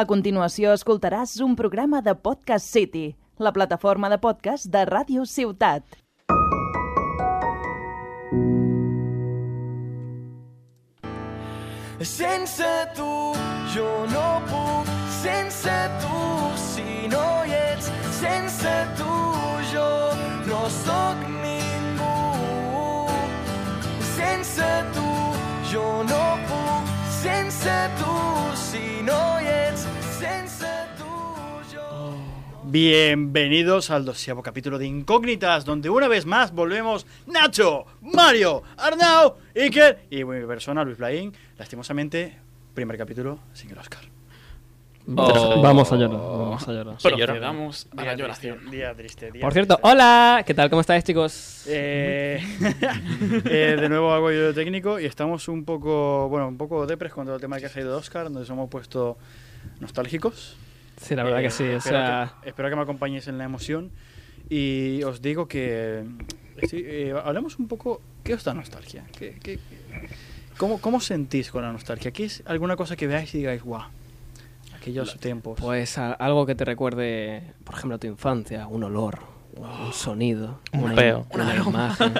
A continuació escoltaràs un programa de Podcast City, la plataforma de podcast de Ràdio Ciutat. Sense tu jo no puc, sense tu si no hi ets, sense tu jo no sóc ningú. Sense tu jo no puc, sense tu si no hi ets, sense tu jo... Bienvenidos al doceavo capítulo de Incógnitas, donde una vez más volvemos Nacho, Mario, Arnau, Iker y mi persona, Luis Blaín. Lastimosamente, primer capítulo sin el Oscar. Oh. Vamos a llorar, vamos a llorar. Procedamos a Día la triste, lloración. Día triste, día Por cierto, oh. triste. hola, ¿qué tal? ¿Cómo estáis, chicos? Eh, eh, de nuevo hago yo de técnico y estamos un poco, bueno, un poco depres contra el tema que ha salido de Oscar, donde nos hemos puesto nostálgicos. Sí, la verdad Eh, que sí, espero, o sea, que, espero que me acompañéis en la emoción y os digo que... eh, sí, eh, hablemos un poco, ¿qué os da nostalgia? ¿Qué, qué- cómo, cómo os sentís con la nostalgia? ¿Qué es alguna cosa que veáis y digáis, guau, aquellos tiempos? pues a- algo que te recuerde, por ejemplo, tu infancia, un olor, un sonido, Un una, peo. una imagen,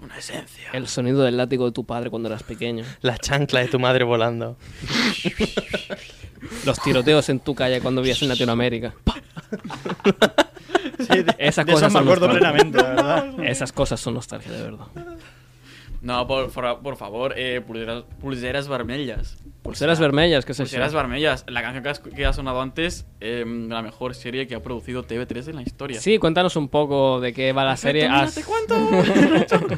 Una esencia. el sonido del látigo de tu padre cuando eras pequeño, La chancla de tu madre volando. los tiroteos en tu calle cuando vivías en Latinoamérica. Sí, de- esas de cosas eso me son acuerdo nostálgicas. plenamente, la verdad. Esas cosas son nostalgia, de verdad. No, por, por, por favor, eh, pulseras, pulseras vermellas. Pulseras vermellas, ¿qué es eso? Pulseras vermellas. La canción que, has- que ha sonado antes, eh, la mejor serie que ha producido TV3 en la historia. Sí, cuéntanos un poco de qué va la serie. Ah, Toma, Has- te cuento.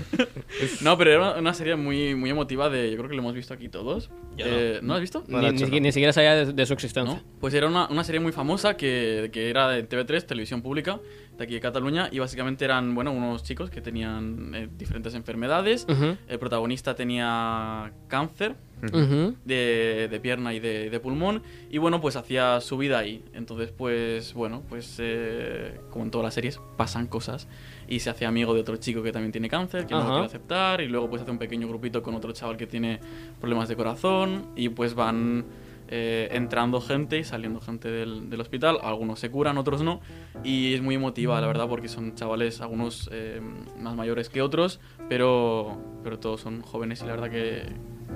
no, pero era una, una serie muy, muy emotiva de. Yo creo que lo hemos visto aquí todos. Eh, no. la has visto? Ni, ni si- ni siquiera sabía de, de su existencia. ¿No? Pues era una, una serie muy famosa que, que era de TV3, televisión pública, de aquí de Cataluña, y básicamente eran, bueno, unos chicos que tenían eh, diferentes enfermedades. Ujú, El protagonista tenía cáncer ujú. de, de pierna y de, de pulmón, y bueno, pues hacía su vida ahí. Entonces, pues, bueno, pues eh, como en todas las series, pasan cosas, y se hace amigo de otro chico que también tiene cáncer, que no Ajá. lo quiere aceptar, y luego pues hace un pequeño grupito con otro chaval que tiene problemas de corazón, y pues van eh, entrando gente y saliendo gente del, del hospital. Algunos se curan, otros no. Y es muy emotiva, la verdad, porque son chavales, algunos eh, más mayores que otros, pero, pero todos son jóvenes y la verdad que,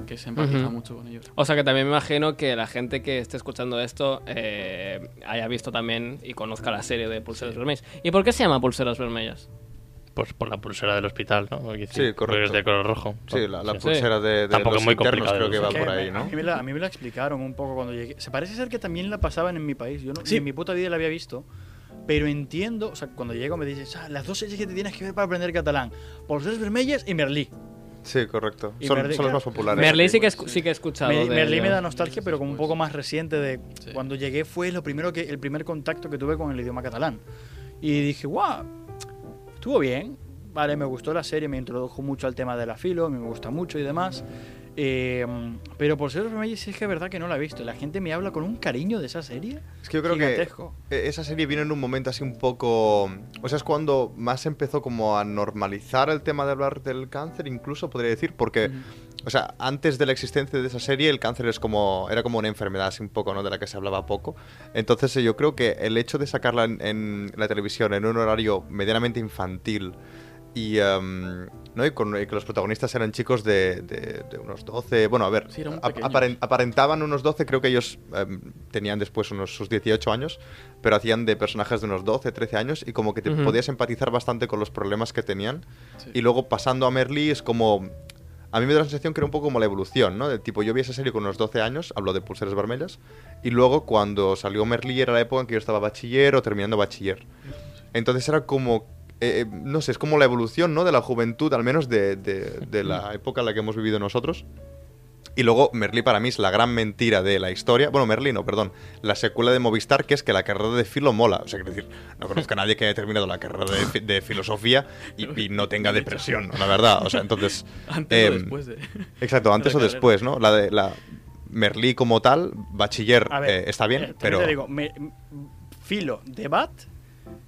que se empatiza Ujú. mucho con ellos. O sea que también me imagino que la gente que esté escuchando esto eh, haya visto también y conozca la serie de Pulseras Vermellas. ¿Y por qué se llama Pulseras Vermellas? Pues por la pulsera del hospital, ¿no? Porque Sí, correcto. Es de color rojo. Sí, la, la Sí. pulsera de, de Tampoco los es muy internos complicado creo que de va Que por me- ahí, a, ¿no? mí me la, a mí me la explicaron un poco cuando llegué. Se parece ser que también la pasaban en mi país. Yo no, ni en mi puta vida la había visto. Pero entiendo, o sea, cuando llego me dices, ah, las dos series que te tienes que ver para aprender catalán. Pulseras vermellas y Merlí. Sí, correcto. Y Son, Merlí- son los más populares. Merlí sí que, escu- sí que he escuchado. Me, de Merlí ello. me da nostalgia, pero como un poco más reciente de Sí. cuando llegué fue lo primero que el primer contacto que tuve con el idioma catalán. Y dije, guau, estuvo bien. Vale, me gustó la serie, me introdujo mucho al tema de la filo, a mí me gusta mucho y demás. Eh, pero por ser Remedios sí es que es verdad que no la he visto. La gente me habla con un cariño de esa serie. Es que yo creo Gigantesco. que eh, esa serie vino en un momento así un poco... O sea, es cuando más empezó como a normalizar el tema de hablar del cáncer, incluso podría decir, porque... O sea, antes de la existencia de esa serie, el cáncer es como, era como una enfermedad así un poco, ¿no? De la que se hablaba poco. Entonces eh, yo creo que el hecho de sacarla en, en la televisión en un horario medianamente infantil y, em, ¿no? y, con- y que los protagonistas eran chicos de, de- de unos 12, bueno, a ver, Sí, eran muy ap- pequeños. aparen- aparentaban unos 12, creo que ellos em, tenían después unos sus 18 años, pero hacían de personajes de unos 12, 13 años y como que te Ujú. podías empatizar bastante con los problemas que tenían. Sí. Y luego pasando a Merlí es como... A mí me da la sensación que era un poco como la evolución, ¿no? Del tipo, yo vi esa serie con unos 12 años, hablo de pulseras vermellas, y luego cuando salió Merlí era la época en que yo estaba bachiller o terminando bachiller. Entonces era como, eh, eh, no sé, es como la evolución, ¿no? De la juventud, al menos de, de- de la época en la que hemos vivido nosotros. Y luego Merlí para mí es la gran mentira de la historia. Bueno, Merlí no, perdón. La secuela de Movistar, que es que la carrera de filo mola. O sea, quiero decir, no conozco a nadie que haya terminado la carrera de, fi- de filosofía y, y no tenga depresión, ¿no? la verdad. O sea, entonces... Antes o em, después de. Exacto, antes o carrera. después, ¿no? La de la Merlí como tal, bachiller, A ver, eh, está bien, eh, también pero... Te digo, me- m- filo, debat,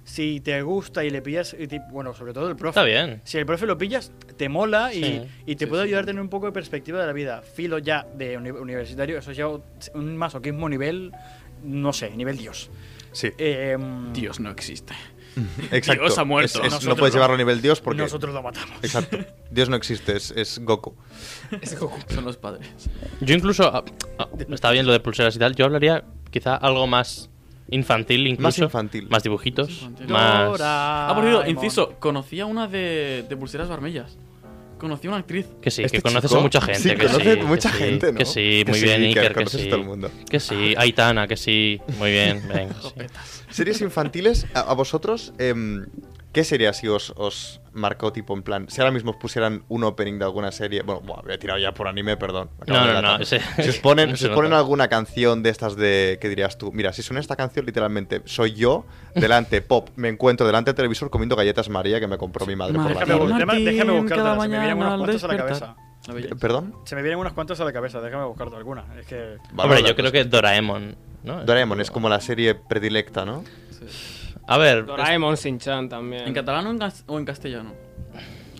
si te gusta y le pillas, y te- bueno, sobre todo el profe. Está bien. Si el profe lo pillas, te mola y, Sí. y te Sí, puede sí, ayudar a sí. tener un poco de perspectiva de la vida. Filo ya de uni- universitario, eso es ya un masoquismo nivel, no sé, nivel Dios. Sí, Em, Dios no existe. exacto. eh, Dios ha muerto. Es- es- no Nosotros puedes no. llevarlo a nivel Dios porque. Nosotros lo matamos. Exacto. Dios no existe, es, es Goku. Son los padres. Yo incluso. ah, ah, está bien lo de pulseras y tal. Yo hablaría quizá algo más infantil, incluso. infantil. Más dibujitos. Más infantil. Más. Doraemon. Ah, por cierto, inciso, conocí a una de, de pulseras barmellas. Conocí a una actriz. Que sí, Este que conoces a chico- mucha gente. Sí, que conoces sí, mucha que sí, gente, ¿no? Que sí, Que muy sí, bien, que Iker, que conoces sí. todo el mundo. Ah. Que sí, Aitana, que sí. Muy bien, venga. sí. Series infantiles, a, a vosotros, em, ¿qué sería si os, os marcó tipo en plan? Si ahora mismo os pusieran un opening de alguna serie. Bueno, buah, me he tirado ya por anime, perdón. me acabo No, de no, no, adelantar. ese- Si os ponen, no si se os ponen nota. alguna canción de estas de. ¿Qué dirías tú? Mira, si suena esta canción, literalmente soy yo, delante, pop, me encuentro delante del televisor comiendo galletas María que me compró mi madre por la Déjame, tarde. bu- déjame- déjame Martín, buscártela, cada se me vienen unos mañana al cuantos a la despertar. cabeza. La belleza. ¿Perdón? Se me vienen unas cuantas a la cabeza, déjame buscarte alguna. Es que. Vale, Hombre, vale, pues, yo creo que Doraemon. ¿no? Doraemon es como la serie predilecta, ¿no? A ver, Doraemon, Shin-Chan también. ¿En catalán o en, gas- o en castellano?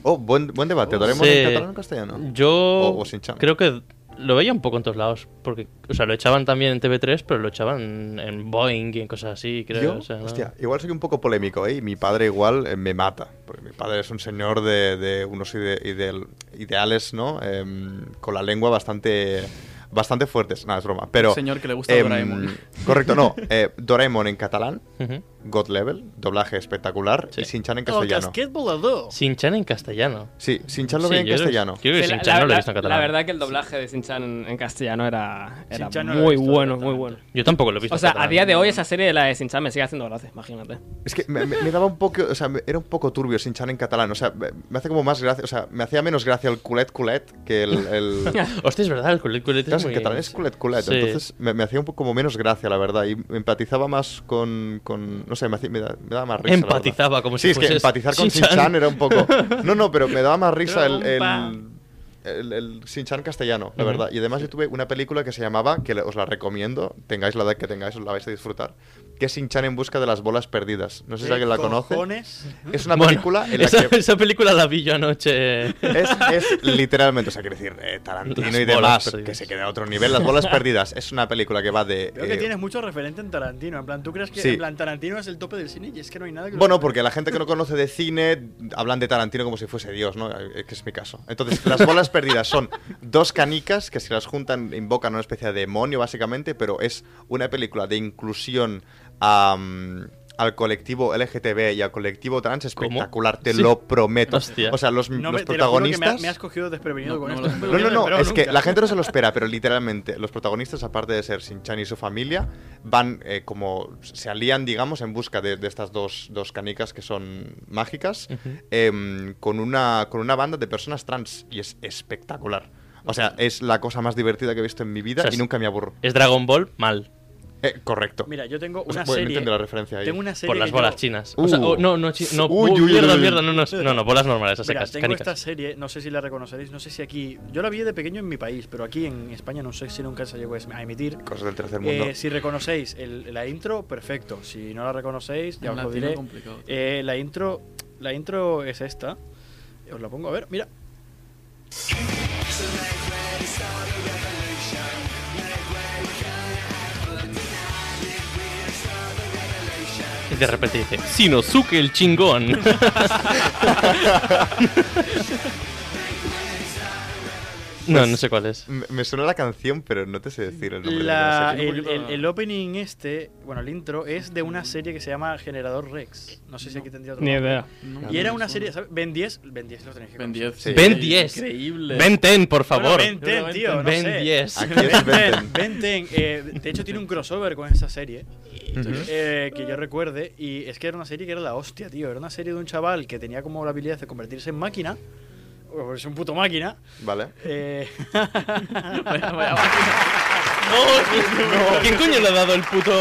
Oh, buen, buen debate. ¿Doraemon Sí. en catalán o en castellano? Yo O- o Shin-chan. creo que lo veía un poco en todos lados. Porque, o sea, lo echaban también en TV3, pero lo echaban en Boeing y en cosas así, creo. Yo, o sea, ¿no? hostia, igual soy un poco polémico, ¿eh? Y mi padre igual eh, me mata. Porque mi padre es un señor de, de unos ide- ideal- ideales, ¿no? Em, con la lengua bastante bastante fuertes. Nada, es broma. Pero, Un señor que le gusta em, Doraemon. Correcto, no. eh, Doraemon en catalán, Ujú. God Level, doblaje espectacular, Sí. y Sinchan Oh, en Oh, castellano. volador. Shin-chan en castellano. Sí, Sinchan lo Sí, vi en yo creo- castellano. Yo creo que Sí, Shin-chan no lo he visto en la- catalán. la verdad que el doblaje de Shin-Chan en, en castellano era, era Shin-Chan no lo he muy visto bueno, muy directamente. bueno. Yo tampoco lo he visto O en sea, a catalán. día de hoy esa serie de la de Shin-Chan me sigue haciendo gracia, imagínate. Es que me, me- me daba un poco, o sea, me- era un poco turbio Sinchan en catalán, o sea, me, me hace como más gracia, o sea, me hacía menos gracia el culet culet que el... el... Hostia, es verdad, el culet culet Claro, es en muy... catalán es culet culet, Sí. entonces me, me hacía un poco como menos gracia, la verdad, y me empatizaba más con, con- no sé, me, hacía- me da- me daba más risa. la verdad. Empatizaba, como si Sí, es que fueses empatizar con Shin-chan. Sinchan era un poco... No, no, pero me daba más risa el... el... El, el Sinchan castellano, la Ujú. verdad. Y además yo tuve una película que se llamaba, que le- os la recomiendo, tengáis la edad que tengáis, os la vais a disfrutar, que es Sinchan en busca de las bolas perdidas. No sé si alguien la conoce. Es una Bueno, película en la esa, que esa película la vi yo anoche. es, es literalmente, o sea, quiero decir, eh, Tarantino Las y bolas demás, perdidas. que se queda a otro nivel. Las bolas perdidas es una película que va de. Creo que eh, tienes mucho referente en Tarantino. En plan, ¿tú crees que sí. en plan, Tarantino es el tope del cine y es que no hay nada que lo Bueno, supere? porque la gente que no conoce de cine hablan de Tarantino como si fuese Dios, ¿no? Eh, Que es mi caso. Entonces, las bolas perdidas son dos canicas que si las juntan invocan una especie de demonio, básicamente, pero es una película de inclusión am, al colectivo LGTB y al colectivo trans espectacular, te Sí. lo prometo. Hosostia. O sea, los, No los me, te lo juro que protagonistas... me, ha- me has cogido desprevenido No, con no esto. me lo- No, no, no, Pero es que nunca. la gente no se lo espera, pero literalmente los protagonistas, aparte de ser Shin-Chan y su familia, van eh, como se alían, digamos, en busca de, de estas dos, dos canicas que son mágicas, em, con, una, con una banda de personas trans y es espectacular. O sea, es la cosa más divertida que he visto en mi vida O sea, y es- nunca me aburro. Es Dragon Ball mal, Eh, correcto. Mira, yo tengo O una sea, bueno, no serie. entiendo la referencia ahí. Tengo una serie. por las que bolas yo- chinas. O sea, Uh. oh, no, no, chi- no, Uy, uy, uy, uy, mierda, uy. mierda, no, no, no, no, bolas normales, a Mira, secas, tengo esta canicas. serie, no sé si la reconoceréis, no sé si aquí. Yo la vi de pequeño en mi país, pero aquí en España no sé si nunca se llegó a emitir. Cosas del tercer mundo. Eh, si reconocéis el- la intro, perfecto. Si no la reconocéis, ya En os lo latino diré. complicado. Eh, la intro la intro es esta. Os la pongo a ver, mira. Y de repente dice, Shinosuke el chingón. no, no sé cuál es. Me, me suena la canción, pero no te sé decir el nombre. de La- serie. el, el- el opening este, bueno, el intro, es de una serie que se llama Generador Rex. No sé si aquí tendría otro Ni nombre. idea. No, Y no era me una suena. serie, ¿sabes? Ben 10, Ben 10 lo tenéis que Ben conocer. 10. Sí. Ben 10. Increíble. Ben 10, Pues, Bueno, por favor. ben 10, tío, no Ben sé. 10. Aquí es Ben 10. Ben 10, eh, de hecho tiene un crossover con esa serie. ¿Mm? Ujú. Eh, que yo recuerde, y es que era una serie que era la hostia, tío. Era una serie de un chaval que tenía como la habilidad de convertirse en máquina. Bueno, es un puto máquina. Vale. Eh, Vaya- vaya máquina. ¿Quién coño le ha dado el puto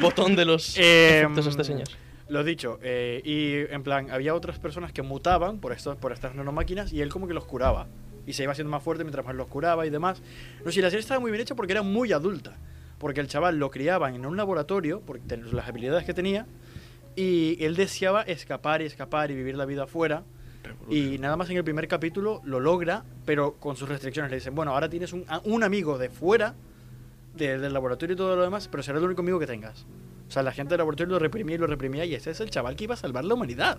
botón de los Eh, efectos a este señor? lo dicho, eh, y en plan, había otras personas que mutaban por, estos, por estas nanomáquinas y él como que los curaba. Y se iba haciendo más fuerte mientras más los curaba y demás. No sé, la serie estaba muy bien hecha porque era muy adulta. Porque el chaval lo criaban en un laboratorio, porque ten- las habilidades que tenía, Y él deseaba escapar y escapar y vivir la vida afuera. Y nada más en el primer capítulo lo logra, pero con sus restricciones. Le dicen, bueno, ahora tienes un, a- un amigo de fuera, de- del laboratorio y todo lo demás, pero será el único amigo que tengas. O sea, la gente del laboratorio lo reprimía y lo reprimía, y ese es el chaval que iba a salvar la humanidad.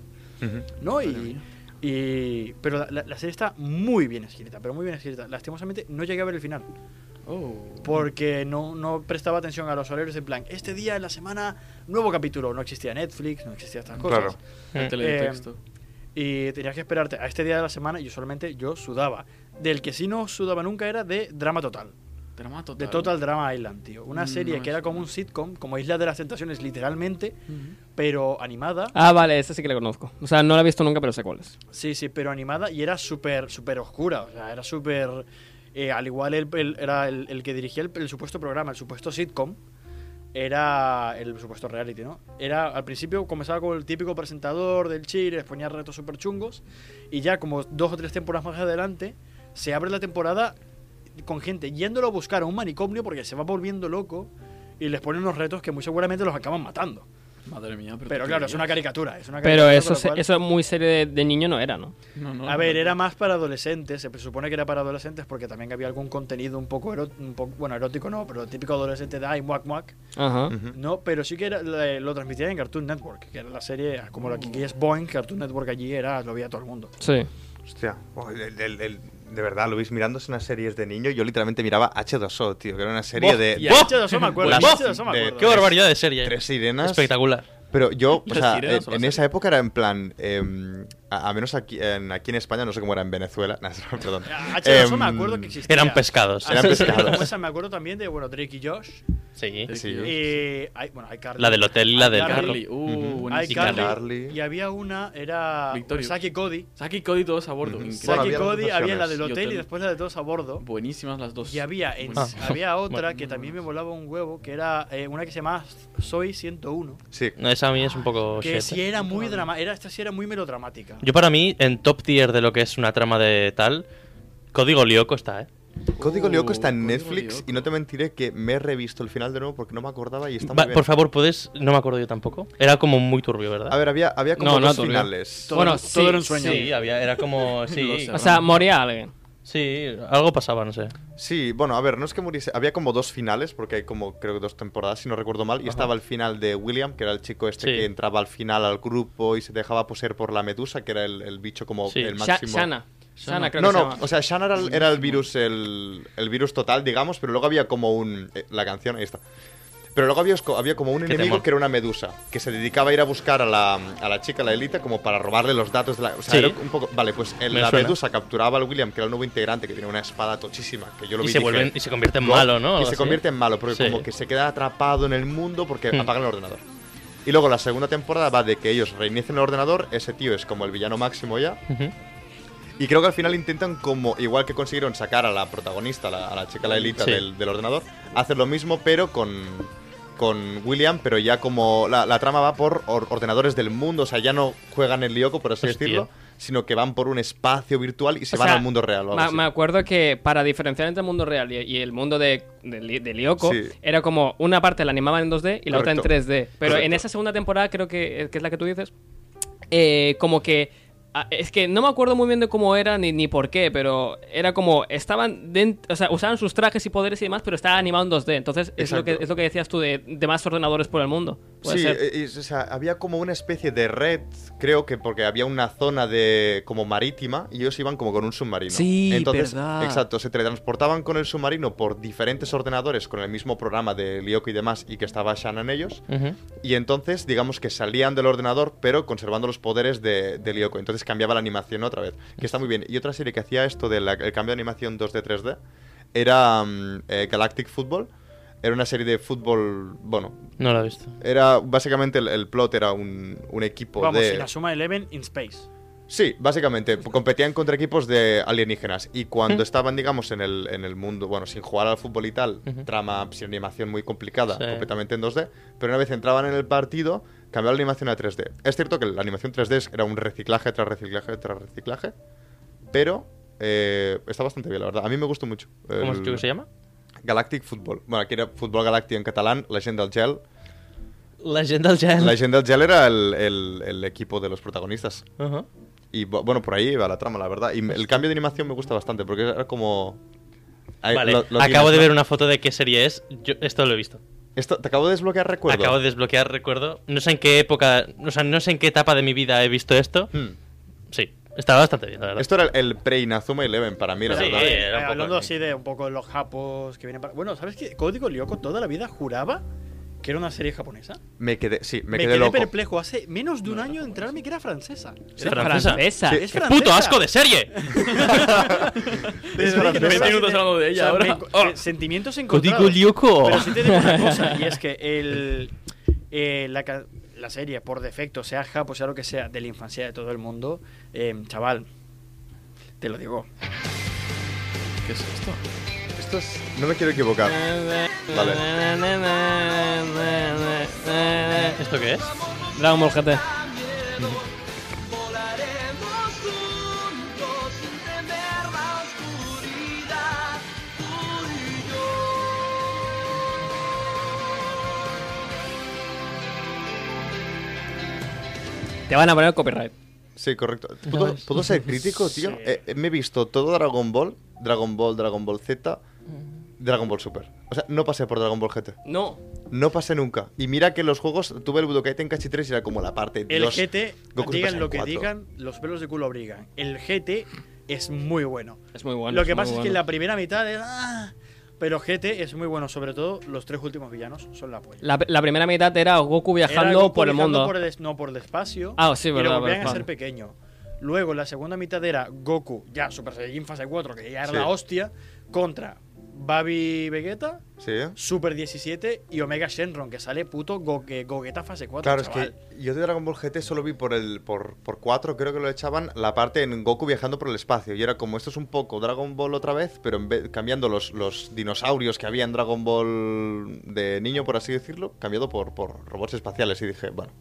¿no? Y, y- pero la, la- la serie está muy bien escrita, pero muy bien escrita. Lastimosamente no llegué a ver el final. Oh. Porque no, no prestaba atención a los horarios en plan, este día de la semana, nuevo capítulo. No existía Netflix, no existía estas cosas. Claro. El Eh, Mm. teletexto. Y tenías que esperarte a este día de la semana y yo solamente yo sudaba. Del que sí no sudaba nunca era de Drama Total. Drama total. De Total Drama Island, tío. Una Mm, serie no que me era como suena. un sitcom, como Isla de las Tentaciones literalmente, pero animada. Ah, vale, esa sí que la conozco. O sea, no la he visto nunca, pero sé cuál es. Sí, sí, pero animada y era súper, súper oscura. O sea, era súper. eh, al igual él, él era el, el que dirigía el, el supuesto programa, el supuesto sitcom, era el supuesto reality, ¿no? Era al principio comenzaba con el típico presentador del Chile, les ponía retos súper chungos y ya como dos o tres temporadas más adelante se abre la temporada con gente yéndolo a buscar a un manicomio porque se va volviendo loco y les ponen unos retos que muy seguramente los acaban matando. Madre mía, pero. Pero tú claro, creías. es una caricatura, es una Pero caricatura, eso, con lo se- cual- eso es muy serie de, de niño no era, ¿no? No, no, a no, ver, no. era más para adolescentes, se supone que era para adolescentes porque también había algún contenido un poco, ero- un poco- bueno, erótico no, pero el típico adolescente de ay, muac, muac. Ajá. Ujú. No, pero sí que era- la- eh, lo transmitían en Cartoon Network, que era la serie, como la que aquí es Boeing, Cartoon Network allí era, lo veía todo el mundo. Sí. Hostia, oh, el- el- el- el- de verdad, Luis, mirándose unas series de niño, yo literalmente miraba H2O, tío, que era una serie de, Y de a H de me acuerdo, Las- H de me de- acuerdo. Qué barbaridad de serie. ¿eh? tres sirenas. Espectacular. Pero yo, o Las sea, sirenas en, son las en esa época era en plan, em, a, a menos aquí en, aquí en España, no sé cómo era en Venezuela, nah, perdón. A H de me Em, acuerdo que existía. Eran pescados. Así Eran que pescados. como esa me acuerdo también de, bueno, Drake y Josh. Sí. Sí. Sí. eh, hay- bueno, hay Carly. La del hotel y la del Carly. carro. Carly. Uh, Ujú. Hay buenísimo. Carly, Carly. Y había una, era Victorio. Saki Cody. Saki y Cody todos a bordo. Ujú. increíble. Bueno, Saki había dos Cody, había la del versiones. Y hotel y hotel. después la de todos a bordo. Buenísimas las dos. Y había, en- Buenísimas. había otra Bueno, que muy también me buenas. volaba un huevo, que era eh, una que se llamaba Soy 101. Sí, No, esa a mí es un poco Que shit. ¿eh? sí era muy drama, era, esta sí era muy melodramática. Yo para mí, en top tier de lo que es una trama de tal, Código Lyoko está, ¿eh? Código Uh, Lyoko está en Código Netflix Lyoko. y no te mentiré que me he revisto el final de nuevo porque no me acordaba y está muy Va, bien. por favor, puedes... No me acuerdo yo tampoco. Era como muy turbio, ¿verdad? A ver, había, había como No, no, dos todavía. finales. Todo- bueno, todo sí, era un sueño. Sí, había, era como... Lo Sí, sé. O sea, moría alguien. sí, algo pasaba, no sé. Sí, bueno, a ver, no es que muriese. Había como dos finales, porque hay como, creo que dos temporadas, si no recuerdo mal. Y estaba el final de William, que era el chico este Sí. que entraba al final al grupo y se dejaba poseer por la medusa, que era el, el bicho como Sí. el Sha- máximo. Shana. Shana, creo no, que se no, llama. o sea, Shanna era, el- era el virus, el, el virus total, digamos, pero luego había como un. eh, la canción, ahí está. Pero luego había, esco- había como un Qué enemigo temón. que era una medusa, que se dedicaba a ir a buscar a la, a la chica, a la Elita, como para robarle los datos de la. O sea, Sí. era un poco. Vale, pues el- Me la suena. medusa capturaba al William, que era el nuevo integrante, que tiene una espada tochísima, que yo lo Y vi se, dije, vuelven, y se convierte en God, malo, ¿no? Y se Así. convierte en malo, porque Sí. como que se queda atrapado en el mundo porque Hmm. apagan el ordenador. Y luego la segunda temporada va de que ellos reinicien el ordenador, ese tío es como el villano máximo ya, Ujú. y creo que al final intentan, como igual que consiguieron sacar a la protagonista, a la, a la chica, la elita Sí. del, del ordenador, hacer lo mismo, pero con, con William, pero ya como la, la trama va por or- ordenadores del mundo, o sea, ya no juegan el lioco, por así Hostia. decirlo, sino que van por un espacio virtual y se O van sea, al mundo real. o algo ma- así. me acuerdo que para diferenciar entre el mundo real y, y el mundo de, de, Li- de Lyoko, Sí. era como una parte la animaban en 2D y la otra en Correcto. 3D. Pero en Correcto. esa segunda temporada, creo que, que es la que tú dices, eh, como que. ah, Es que no me acuerdo muy bien de cómo era ni, ni por qué, pero era como. Estaban dentro. O sea, usaban sus trajes y poderes y demás, pero estaba animado en 2D. Entonces, es lo, que, Exacto. es lo que decías tú de, de más ordenadores por el mundo. Puede Sí, ser. eh, es- o sea, había como una especie de red, creo que porque había una zona de como marítima y ellos iban como con un submarino. Sí, Entonces, verdad. exacto, se teletransportaban con el submarino por diferentes ordenadores con el mismo programa de Lyoko y demás y que estaba Shanna en ellos. Ujú. Y entonces, digamos que salían del ordenador, pero conservando los poderes de, de Lyoko. Entonces cambiaba la animación otra vez, que está muy bien. Y otra serie que hacía esto del el cambio de animación 2D-3D era mm, eh, Galactic Football. Era una serie de fútbol, bueno, No lo he visto. era básicamente el, el plot era un, un equipo Vamos, de sin la suma Eleven in Space. sí básicamente competían contra equipos de alienígenas y cuando estaban digamos en el, en el mundo bueno sin jugar al fútbol y tal Ujú. trama pues, sin animación muy complicada Sí. completamente en 2D pero una vez entraban en el partido cambiaban la animación a 3D es cierto que la animación 3D es- era un reciclaje tras reciclaje tras reciclaje pero eh, está bastante bien la verdad a mí me gustó mucho ¿Cómo es El- que se llama? Galactic Football bueno aquí era fútbol galáctico en catalán Legend del Gel La gent del gel. La gente del gel era el, el- el equipo de los protagonistas. Ajá. Y bu- bueno, por ahí va la trama, la verdad. Y el cambio de animación me gusta bastante porque era como. Ahí, Vale, lo- lo acabo tienes, de ¿no? ver una foto de qué serie es. Yo, esto lo he visto. Esto, te acabo de desbloquear recuerdo. Acabo de desbloquear, recuerdo. No sé en qué época, o sea, no sé en qué etapa de mi vida he visto esto. Hmm. Sí, estaba bastante bien, la verdad. Esto era el, el pre-Inazuma Eleven para mí, la Sí, verdad. eh, era un Eh, poco hablando así. así de un poco los japos que vienen para. Bueno, ¿sabes qué? Código Lyoko toda la vida juraba que era una serie japonesa. Me quedé, sí, me, Me, quedé, quedé loco. perplejo. Hace menos de un año de enterarme que era francesa. ¿Es francesa? Sí. Es Es ¡Qué francesa. puto asco de serie! Desde que no francesa. sé 20 minutos si- hablando de ella o sea, ahora. me- Ah. eh, Sentimientos encontrados. Código Lyoko. Pero sí te digo una cosa, y es que el, eh, la, ca- la serie, por defecto, sea japo, sea lo que sea, de la infancia de todo el mundo, eh, chaval, te lo digo. ¿Qué es esto? Esto es... No me quiero equivocar. Vale. ¿Esto qué es? Dragon Ball GT. Te van a poner copyright. Sí, correcto. ¿Puedo, No, es- puedo ser crítico, tío? Sí. Eh, eh, me he visto todo Dragon Ball, Dragon Ball, Dragon Ball Z, Mm. Dragon Ball Super. O sea, no pasé por Dragon Ball GT. No. No pasé nunca. Y mira que en los juegos tuve el Budokai Tenkaichi 3 y era como la parte El Dios, GT, Goku se pasa digan en lo que cuatro. digan, los pelos de culo obligan. El GT es muy bueno. Es muy bueno. lo que pasa es que en la primera mitad es... "Ah", pero GT es muy bueno, sobre todo los tres últimos villanos son la polla. la, la primera mitad era Goku viajando Era Goku por el viajando mundo. por es- no por el espacio. Ah, sí, y verdad, lo volvían verdad. a ser pequeño. Luego, la segunda mitad era Goku, ya Super Saiyajin fase 4, que ya era Sí. la hostia, contra Babi Vegeta, Sí, ¿eh? Super 17 y Omega Shenron, que sale puto Go- eh, Gogeta fase 4. Claro, chaval. es que yo de Dragon Ball GT solo vi por el por, por 4, creo que lo echaban, la parte en Goku viajando por el espacio. Y era como, esto es un poco Dragon Ball otra vez, pero en vez- cambiando los, los dinosaurios que había en Dragon Ball de niño, por así decirlo, cambiado por, por robots espaciales. Y dije, bueno,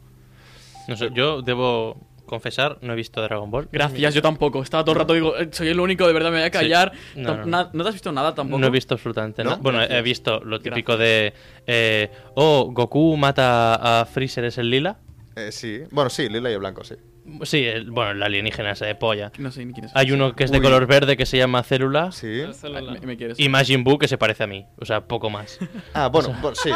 No sé, yo debo confesar, no he visto Dragon Ball. Gracias, yo tampoco. Estaba todo el rato, digo, eh, soy el único, de verdad me voy a callar. Sí. No, Tam- no, na- no. te has visto nada tampoco? No he visto absolutamente ¿No? nada. Bueno, he visto lo típico de. eh, oh, Goku mata a Freezer, es el lila. eh, sí. Bueno, sí, lila y blanco, sí. Sí, el- bueno, el alienígena ese de polla. No sé ni quién es. Hay uno que es de Uy. color verde que se llama Célula. Sí. Ah, me- me quieres. Y Majin Buu que se parece a mí. O sea, poco más. Ah, bueno, bueno, sí.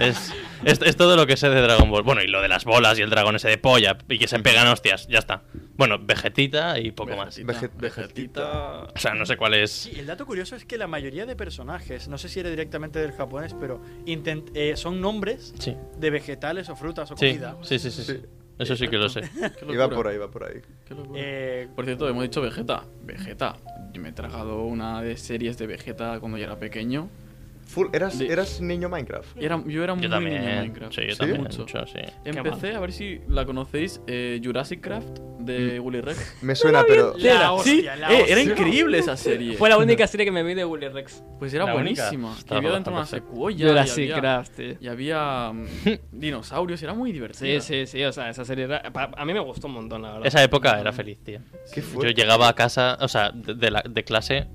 es, es, es todo lo que sé de Dragon Ball. Bueno, y lo de las bolas y el dragón ese de polla y que se pegan hostias. Ya está. Bueno, vegetita y poco más. Vegetita, Veget- vegetita. O sea, no sé cuál es. Sí, el dato curioso es que la mayoría de personajes, no sé si era directamente del japonés, pero intent- eh, son nombres Sí. de vegetales o frutas o Sí, comida. sí, sí, sí, sí. Sí. Eso sí que lo sé. Qué Iba locura, por ahí, iba por ahí. qué locura. Eh, Por cierto, hemos dicho Vegeta. Vegeta. Yo me he tragado una de series de Vegeta cuando yo era pequeño. Full, eras, De- eras niño Minecraft. Y era- yo era muy Yo niño en también. Minecraft. Sí, yo ¿Sí? también. Mucho. mucho, sí. Empecé, a ver si la conocéis, eh, Jurassic Craft de Mm. Willy Rex. Me suena, pero. La sí, hostia, la eh, era hostia. increíble esa serie. Fue la única serie que me vi de Willy Rex. Pues era La única. buenísima. Que Estaba había dentro una bastante secuoya. y Jurassic había- Craft, tío. Y había mm, dinosaurios, era muy Sí, divertido. sí, sí, o sea, esa serie era- pa- A mí me gustó un montón, la verdad. Esa época era feliz, tío. ¿Qué Yo fue? llegaba a casa, o sea, de, de la- de clase,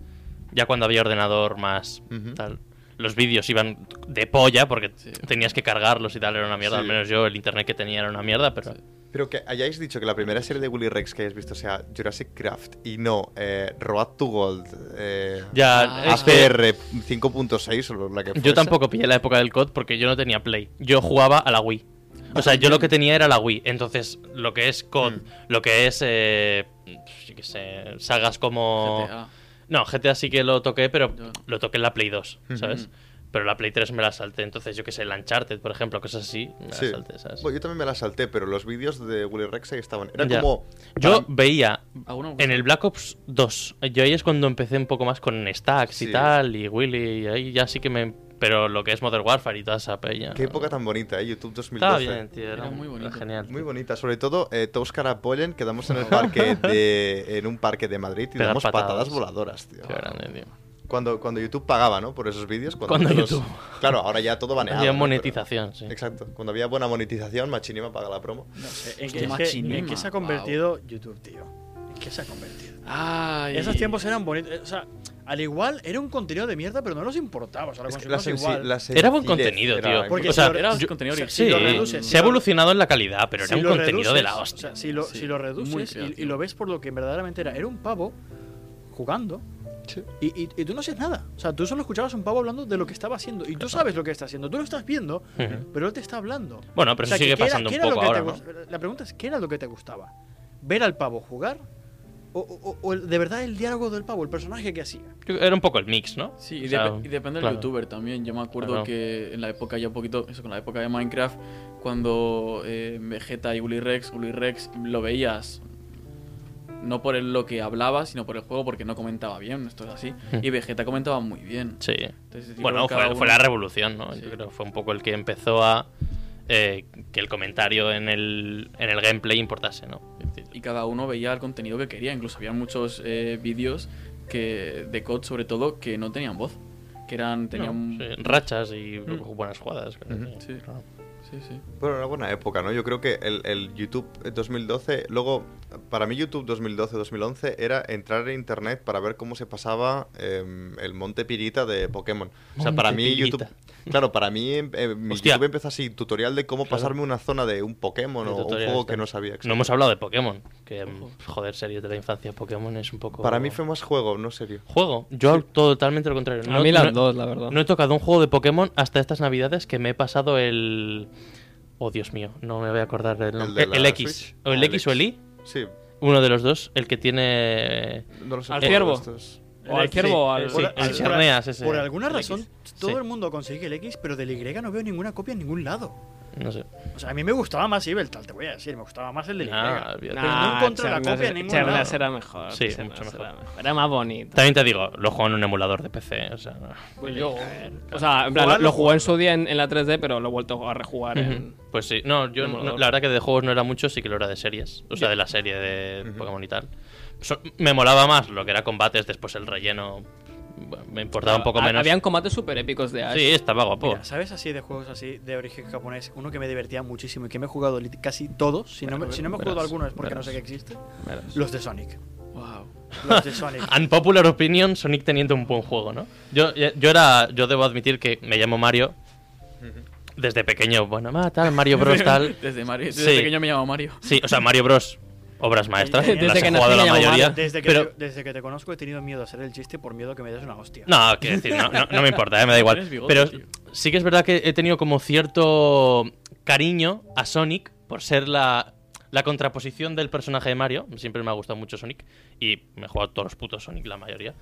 ya cuando había ordenador más Ujú. tal. Los vídeos iban de polla porque Sí. tenías que cargarlos y tal, era una mierda. Sí. Al menos yo, el internet que tenía era una mierda, pero. Pero que hayáis dicho que la primera serie de Willy Rex que hayáis visto sea Jurassic Craft y no eh, Road to Gold, eh, Ya, Ah. es que- APR 5.6 o lo- la que fuese. Yo tampoco pillé la época del COD porque yo no tenía Play. Yo jugaba a la Wii. O sea, yo lo que tenía era la Wii. Entonces, lo que es COD, Mm. lo que es. Eh, yo qué sé, sagas como. GTA. No, GTA sí que lo toqué, pero Yo no. lo toqué en la Play 2, ¿sabes? Ujú. Pero la Play 3 me la salté. Entonces, yo qué sé, el Uncharted, por ejemplo, cosas así, me la Sí. salté, ¿sabes? Bueno, yo también me la salté, pero los vídeos de Willy Rex ahí estaban. Era Ya. como. Yo para- veía Alguna cosa. en el Black Ops 2. Yo ahí es cuando empecé un poco más con Stacks Sí. y tal, y Willy, y ahí ya sí que me. Pero lo que es Modern Warfare y toda esa peña. Qué época tan bonita, ¿eh? YouTube Estaba 2012. bien, tío. Era, Era muy muy bonito. Genial. Muy bonita, sobre todo eh, Toscar Apoyen, quedamos en el parque de en un parque de Madrid y Pegar damos patadas. patadas. voladoras, tío. Qué grande, tío. Cuando, cuando YouTube pagaba, ¿no? Por esos vídeos. Cuando los- YouTube. Claro, ahora ya todo baneado. Había ¿no? monetización, sí. Pero- Exacto. Cuando había buena monetización, Machinima paga la promo. no sé, ¿en, Hostia, qué, es que- Machinima, en qué se ha convertido YouTube, tío? ¿En qué se ha convertido? Ay. Esos tiempos eran bonitos. eh, O sea, Al igual, era un contenido de mierda, pero no nos importaba. O sea, lo Es que la consumimos sensi- igual. la Era buen sencillez contenido, era tío. importante. Porque o sea, si lo- Era un yo- contenido original. si sí, lo reduces, se si ha lo- evolucionado en la calidad, pero si era un lo contenido de reduces, la o hostia. sea, si, lo, Sí, si lo muy reduces y- y, creativo. lo ves por lo que verdaderamente era, era un pavo jugando Sí. y, y- y tú no hacías nada. O sea, tú solo escuchabas a un pavo hablando de lo que estaba haciendo y tú sabes lo que está haciendo. Tú lo estás viendo, Ujú. pero él te está hablando. Bueno, pero O sea, eso sigue ¿qué era- pasando qué un era lo que poco te ahora, ¿no? gust- La pregunta es, ¿qué era lo que te gustaba? ¿Ver al pavo jugar? ¿O, o- o- o el- de verdad el diálogo del pavo, el personaje que hacía? Era un poco el mix, ¿no? Sí, y, O sea, depe- y depende claro. del youtuber también. Yo me acuerdo Claro. que en la época ya un poquito, eso con la época de Minecraft, cuando eh, Vegeta y Uli Rex, Uli Rex lo veías no por el- lo que hablaba, sino por el juego, porque no comentaba bien, esto es así. Y Vegeta comentaba muy bien. Sí. Entonces, yo Bueno, creo que cada fue, uno- fue la revolución, ¿no? Sí. Yo creo que fue un poco el que empezó a eh, que el comentario en el, en el gameplay importase, ¿no? Es decir, y cada uno veía el contenido que quería. Incluso había muchos eh, vídeos que de COD sobre todo que no tenían voz, que eran tenían no, sí, rachas y Mm. buenas jugadas. creo que Sí. claro. sí, sí. Bueno, era buena época, ¿no? Yo creo que el, el YouTube 2012, luego, para mí YouTube 2012-2011 era entrar en Internet para ver cómo se pasaba em, el monte pirita de Pokémon. O sea, para mí Monte YouTube... pirita. Claro, para mí em, eh, mi Hostia. YouTube empezó así, tutorial de cómo Claro. pasarme una zona de un Pokémon El o un tutorial juego está. que no sabía. exacto. No hemos hablado de Pokémon, que Ojo. joder, series de la infancia Pokémon es un poco Para mí fue más juego, no serio. juego. Yo totalmente lo contrario. A mí las dos, la verdad. No he tocado un juego de Pokémon hasta estas navidades que me he pasado el. Oh, Dios mío, no me voy a acordar del nombre. de El, la X. Switch? O el, Ah, X o el Y. Sí, Uno de los dos, el que tiene. no lo sé. Al ninguno de ciervo. estos. O al Sí, eh, ciervo o al. sí, al- al por- Xerneas ese, Por alguna el razón, X. todo Sí. el mundo consigue el X, pero del Y no veo ninguna copia en ningún lado. No sé. O sea, a mí me gustaba más Ibeltal, te voy a decir, me gustaba más el del Y. Nah, olvídate. pero no encontré la Xerneas- copia en ningún Xerneas lado. era mejor. Sí, Xerneas mucho mejor. Era, mejor. Era más bonito. También te digo, lo juego en un emulador de PC. O sea, no. Pues yo. O sea, en plan, Jugarlo, lo jugué en su día en, en la 3D, pero lo he vuelto a rejugar en. Pues sí, no, yo De no- emulador. la verdad que de juegos no era mucho, sí que lo era de series, o sea, de la serie de Pokémon y tal. So- me molaba más lo que era combates, después el relleno bueno, me importaba un poco Ha- menos. Habían combates súper épicos de Ash. Sí, estaba guapo. Mira, ¿sabes así de juegos así de origen japonés? Uno que me divertía muchísimo y que me he jugado lit- casi todos. Si no me, si no me he jugado verás, alguno es porque no verás. sé que existe. Verás. Los de Sonic. Wow. Los de Ah, Sonic. Unpopular opinion, Sonic teniendo un buen juego, ¿no? Yo, eh, yo era, yo debo admitir que me llamo Mario desde pequeño, bueno, ma, tal, Mario Bros, tal. Desde Mario, desde Sí. pequeño me llamaba Mario. Sí, o sea, Mario Bros, obras maestras, Desde las que he nací jugado me la llamo mayoría. Mario. Desde que, pero, te, desde que te conozco he tenido miedo a hacer el chiste por miedo a que me des una hostia. No, quiero decir, no, no, no me importa, eh, me da igual. Tienes bigote, Pero tío. sí que es verdad que he tenido como cierto cariño a Sonic por ser la, la contraposición del personaje de Mario. Siempre me ha gustado mucho Sonic y me he jugado todos los putos Sonic, la mayoría.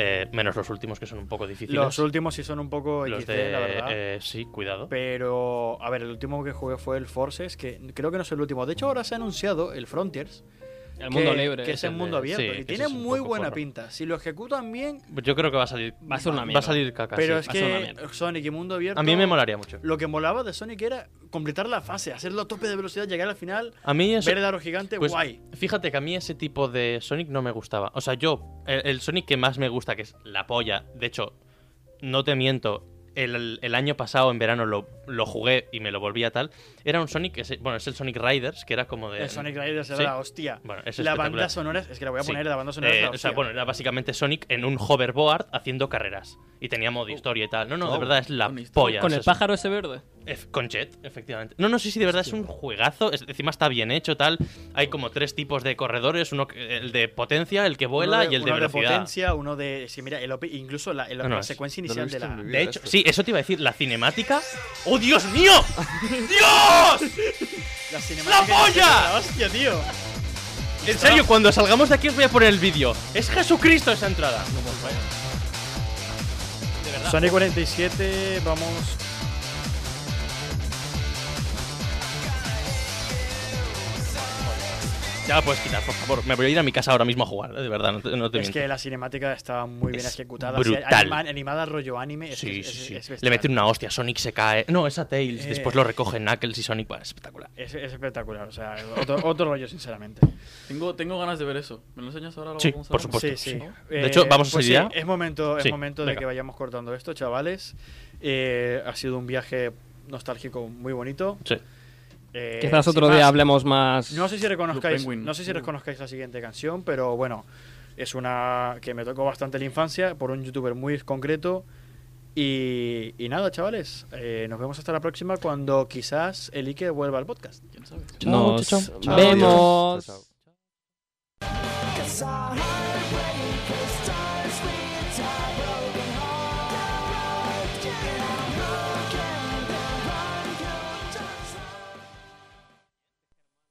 Eh, menos los últimos que son un poco difíciles. Los últimos sí son un poco Los XD, de. la verdad. eh, sí, cuidado. Pero, a ver, el último que jugué fue el Forces, que creo que no es el último. De hecho, ahora se ha anunciado el Frontiers. El mundo que- libre. Que es el el mundo de- abierto. sí, y que tiene ese es un muy poco buena forro. pinta. Si lo ejecutan bien, Yo creo que va a salir. Va a ser una Va mierda. a salir caca. pero sí. es va a ser una que mierda. Sonic y mundo abierto. A mí me molaría mucho. Lo que molaba de Sonic era completar la fase, hacerlo a tope de velocidad, llegar al final, A mí eso. ver el aro gigante, Pues, guay. Fíjate que a mí ese tipo de Sonic no me gustaba. O sea, yo, el, el Sonic que más me gusta, que es la polla, de hecho, no te miento, el, el año pasado en verano lo, lo jugué y me lo volví a tal, era un Sonic, que se- bueno, es el Sonic Riders, que era como de... El Sonic Riders era eh, Sí. la hostia. Bueno, es la espectacular. banda sonora, es que la voy a Sí. poner, la banda sonora es Eh, la o hostia. sea, bueno, era básicamente Sonic en un hoverboard haciendo carreras. Y tenía modo historia y tal. No, no, de Oh, verdad es la con historia. polla. Con O sea, el es- pájaro ese verde. Ef- Con Jet, efectivamente. No, no sé si de verdad es un juegazo. es- encima está bien hecho, tal. Hay como tres tipos de corredores: uno, que- el de potencia, el que vuela Uno y el de uno velocidad. de potencia, uno de. Sí, mira, el op- incluso la, el- No, no, la es- secuencia no lo he inicial de visto la. en mi vida. De hecho, esto. sí, eso te iba a decir, la cinemática. ¡Oh, Dios mío! ¡Dios! La, cinemática ¡La polla! inicial, la hostia, tío! En serio, cuando salgamos de aquí os voy a poner el vídeo. Es Jesucristo esa entrada. Sonic 47, vamos. Ya la puedes quitar, por favor. Me voy a ir a mi casa ahora mismo a jugar, eh, de verdad, no te, no te Es miento. que la cinemática estaba muy bien Es ejecutada. brutal. así, anima- animada rollo anime. es- Sí, es- sí, es- sí. es Le bestial. meten una hostia, Sonic se cae. No, es a Tails. Eh. Después lo recogen Knuckles y Sonic. Bueno, espectacular. Es, es espectacular, o sea, otro, otro rollo, sinceramente. Tengo, tengo ganas de ver eso. ¿Me lo enseñas ahora? luego Sí, cómo se por llama? supuesto. Sí, sí. De hecho, vamos a pues seguir sí, ya. Es momento, es Sí, momento de venga. que vayamos cortando esto, chavales. Eh, ha sido un viaje nostálgico muy bonito. Sí. Eh, Quizás sin otro día más, hablemos más. No sé si reconozcáis, Blue Penguin. no sé si reconozcáis la siguiente canción, pero bueno, Es una que me tocó bastante la infancia por un youtuber muy concreto. Y, y nada, chavales, eh, nos vemos hasta la próxima cuando quizás el Ike vuelva al podcast. ¿Quién sabe? Nos chao, chao. Chao, adiós. vemos. Chao, chao.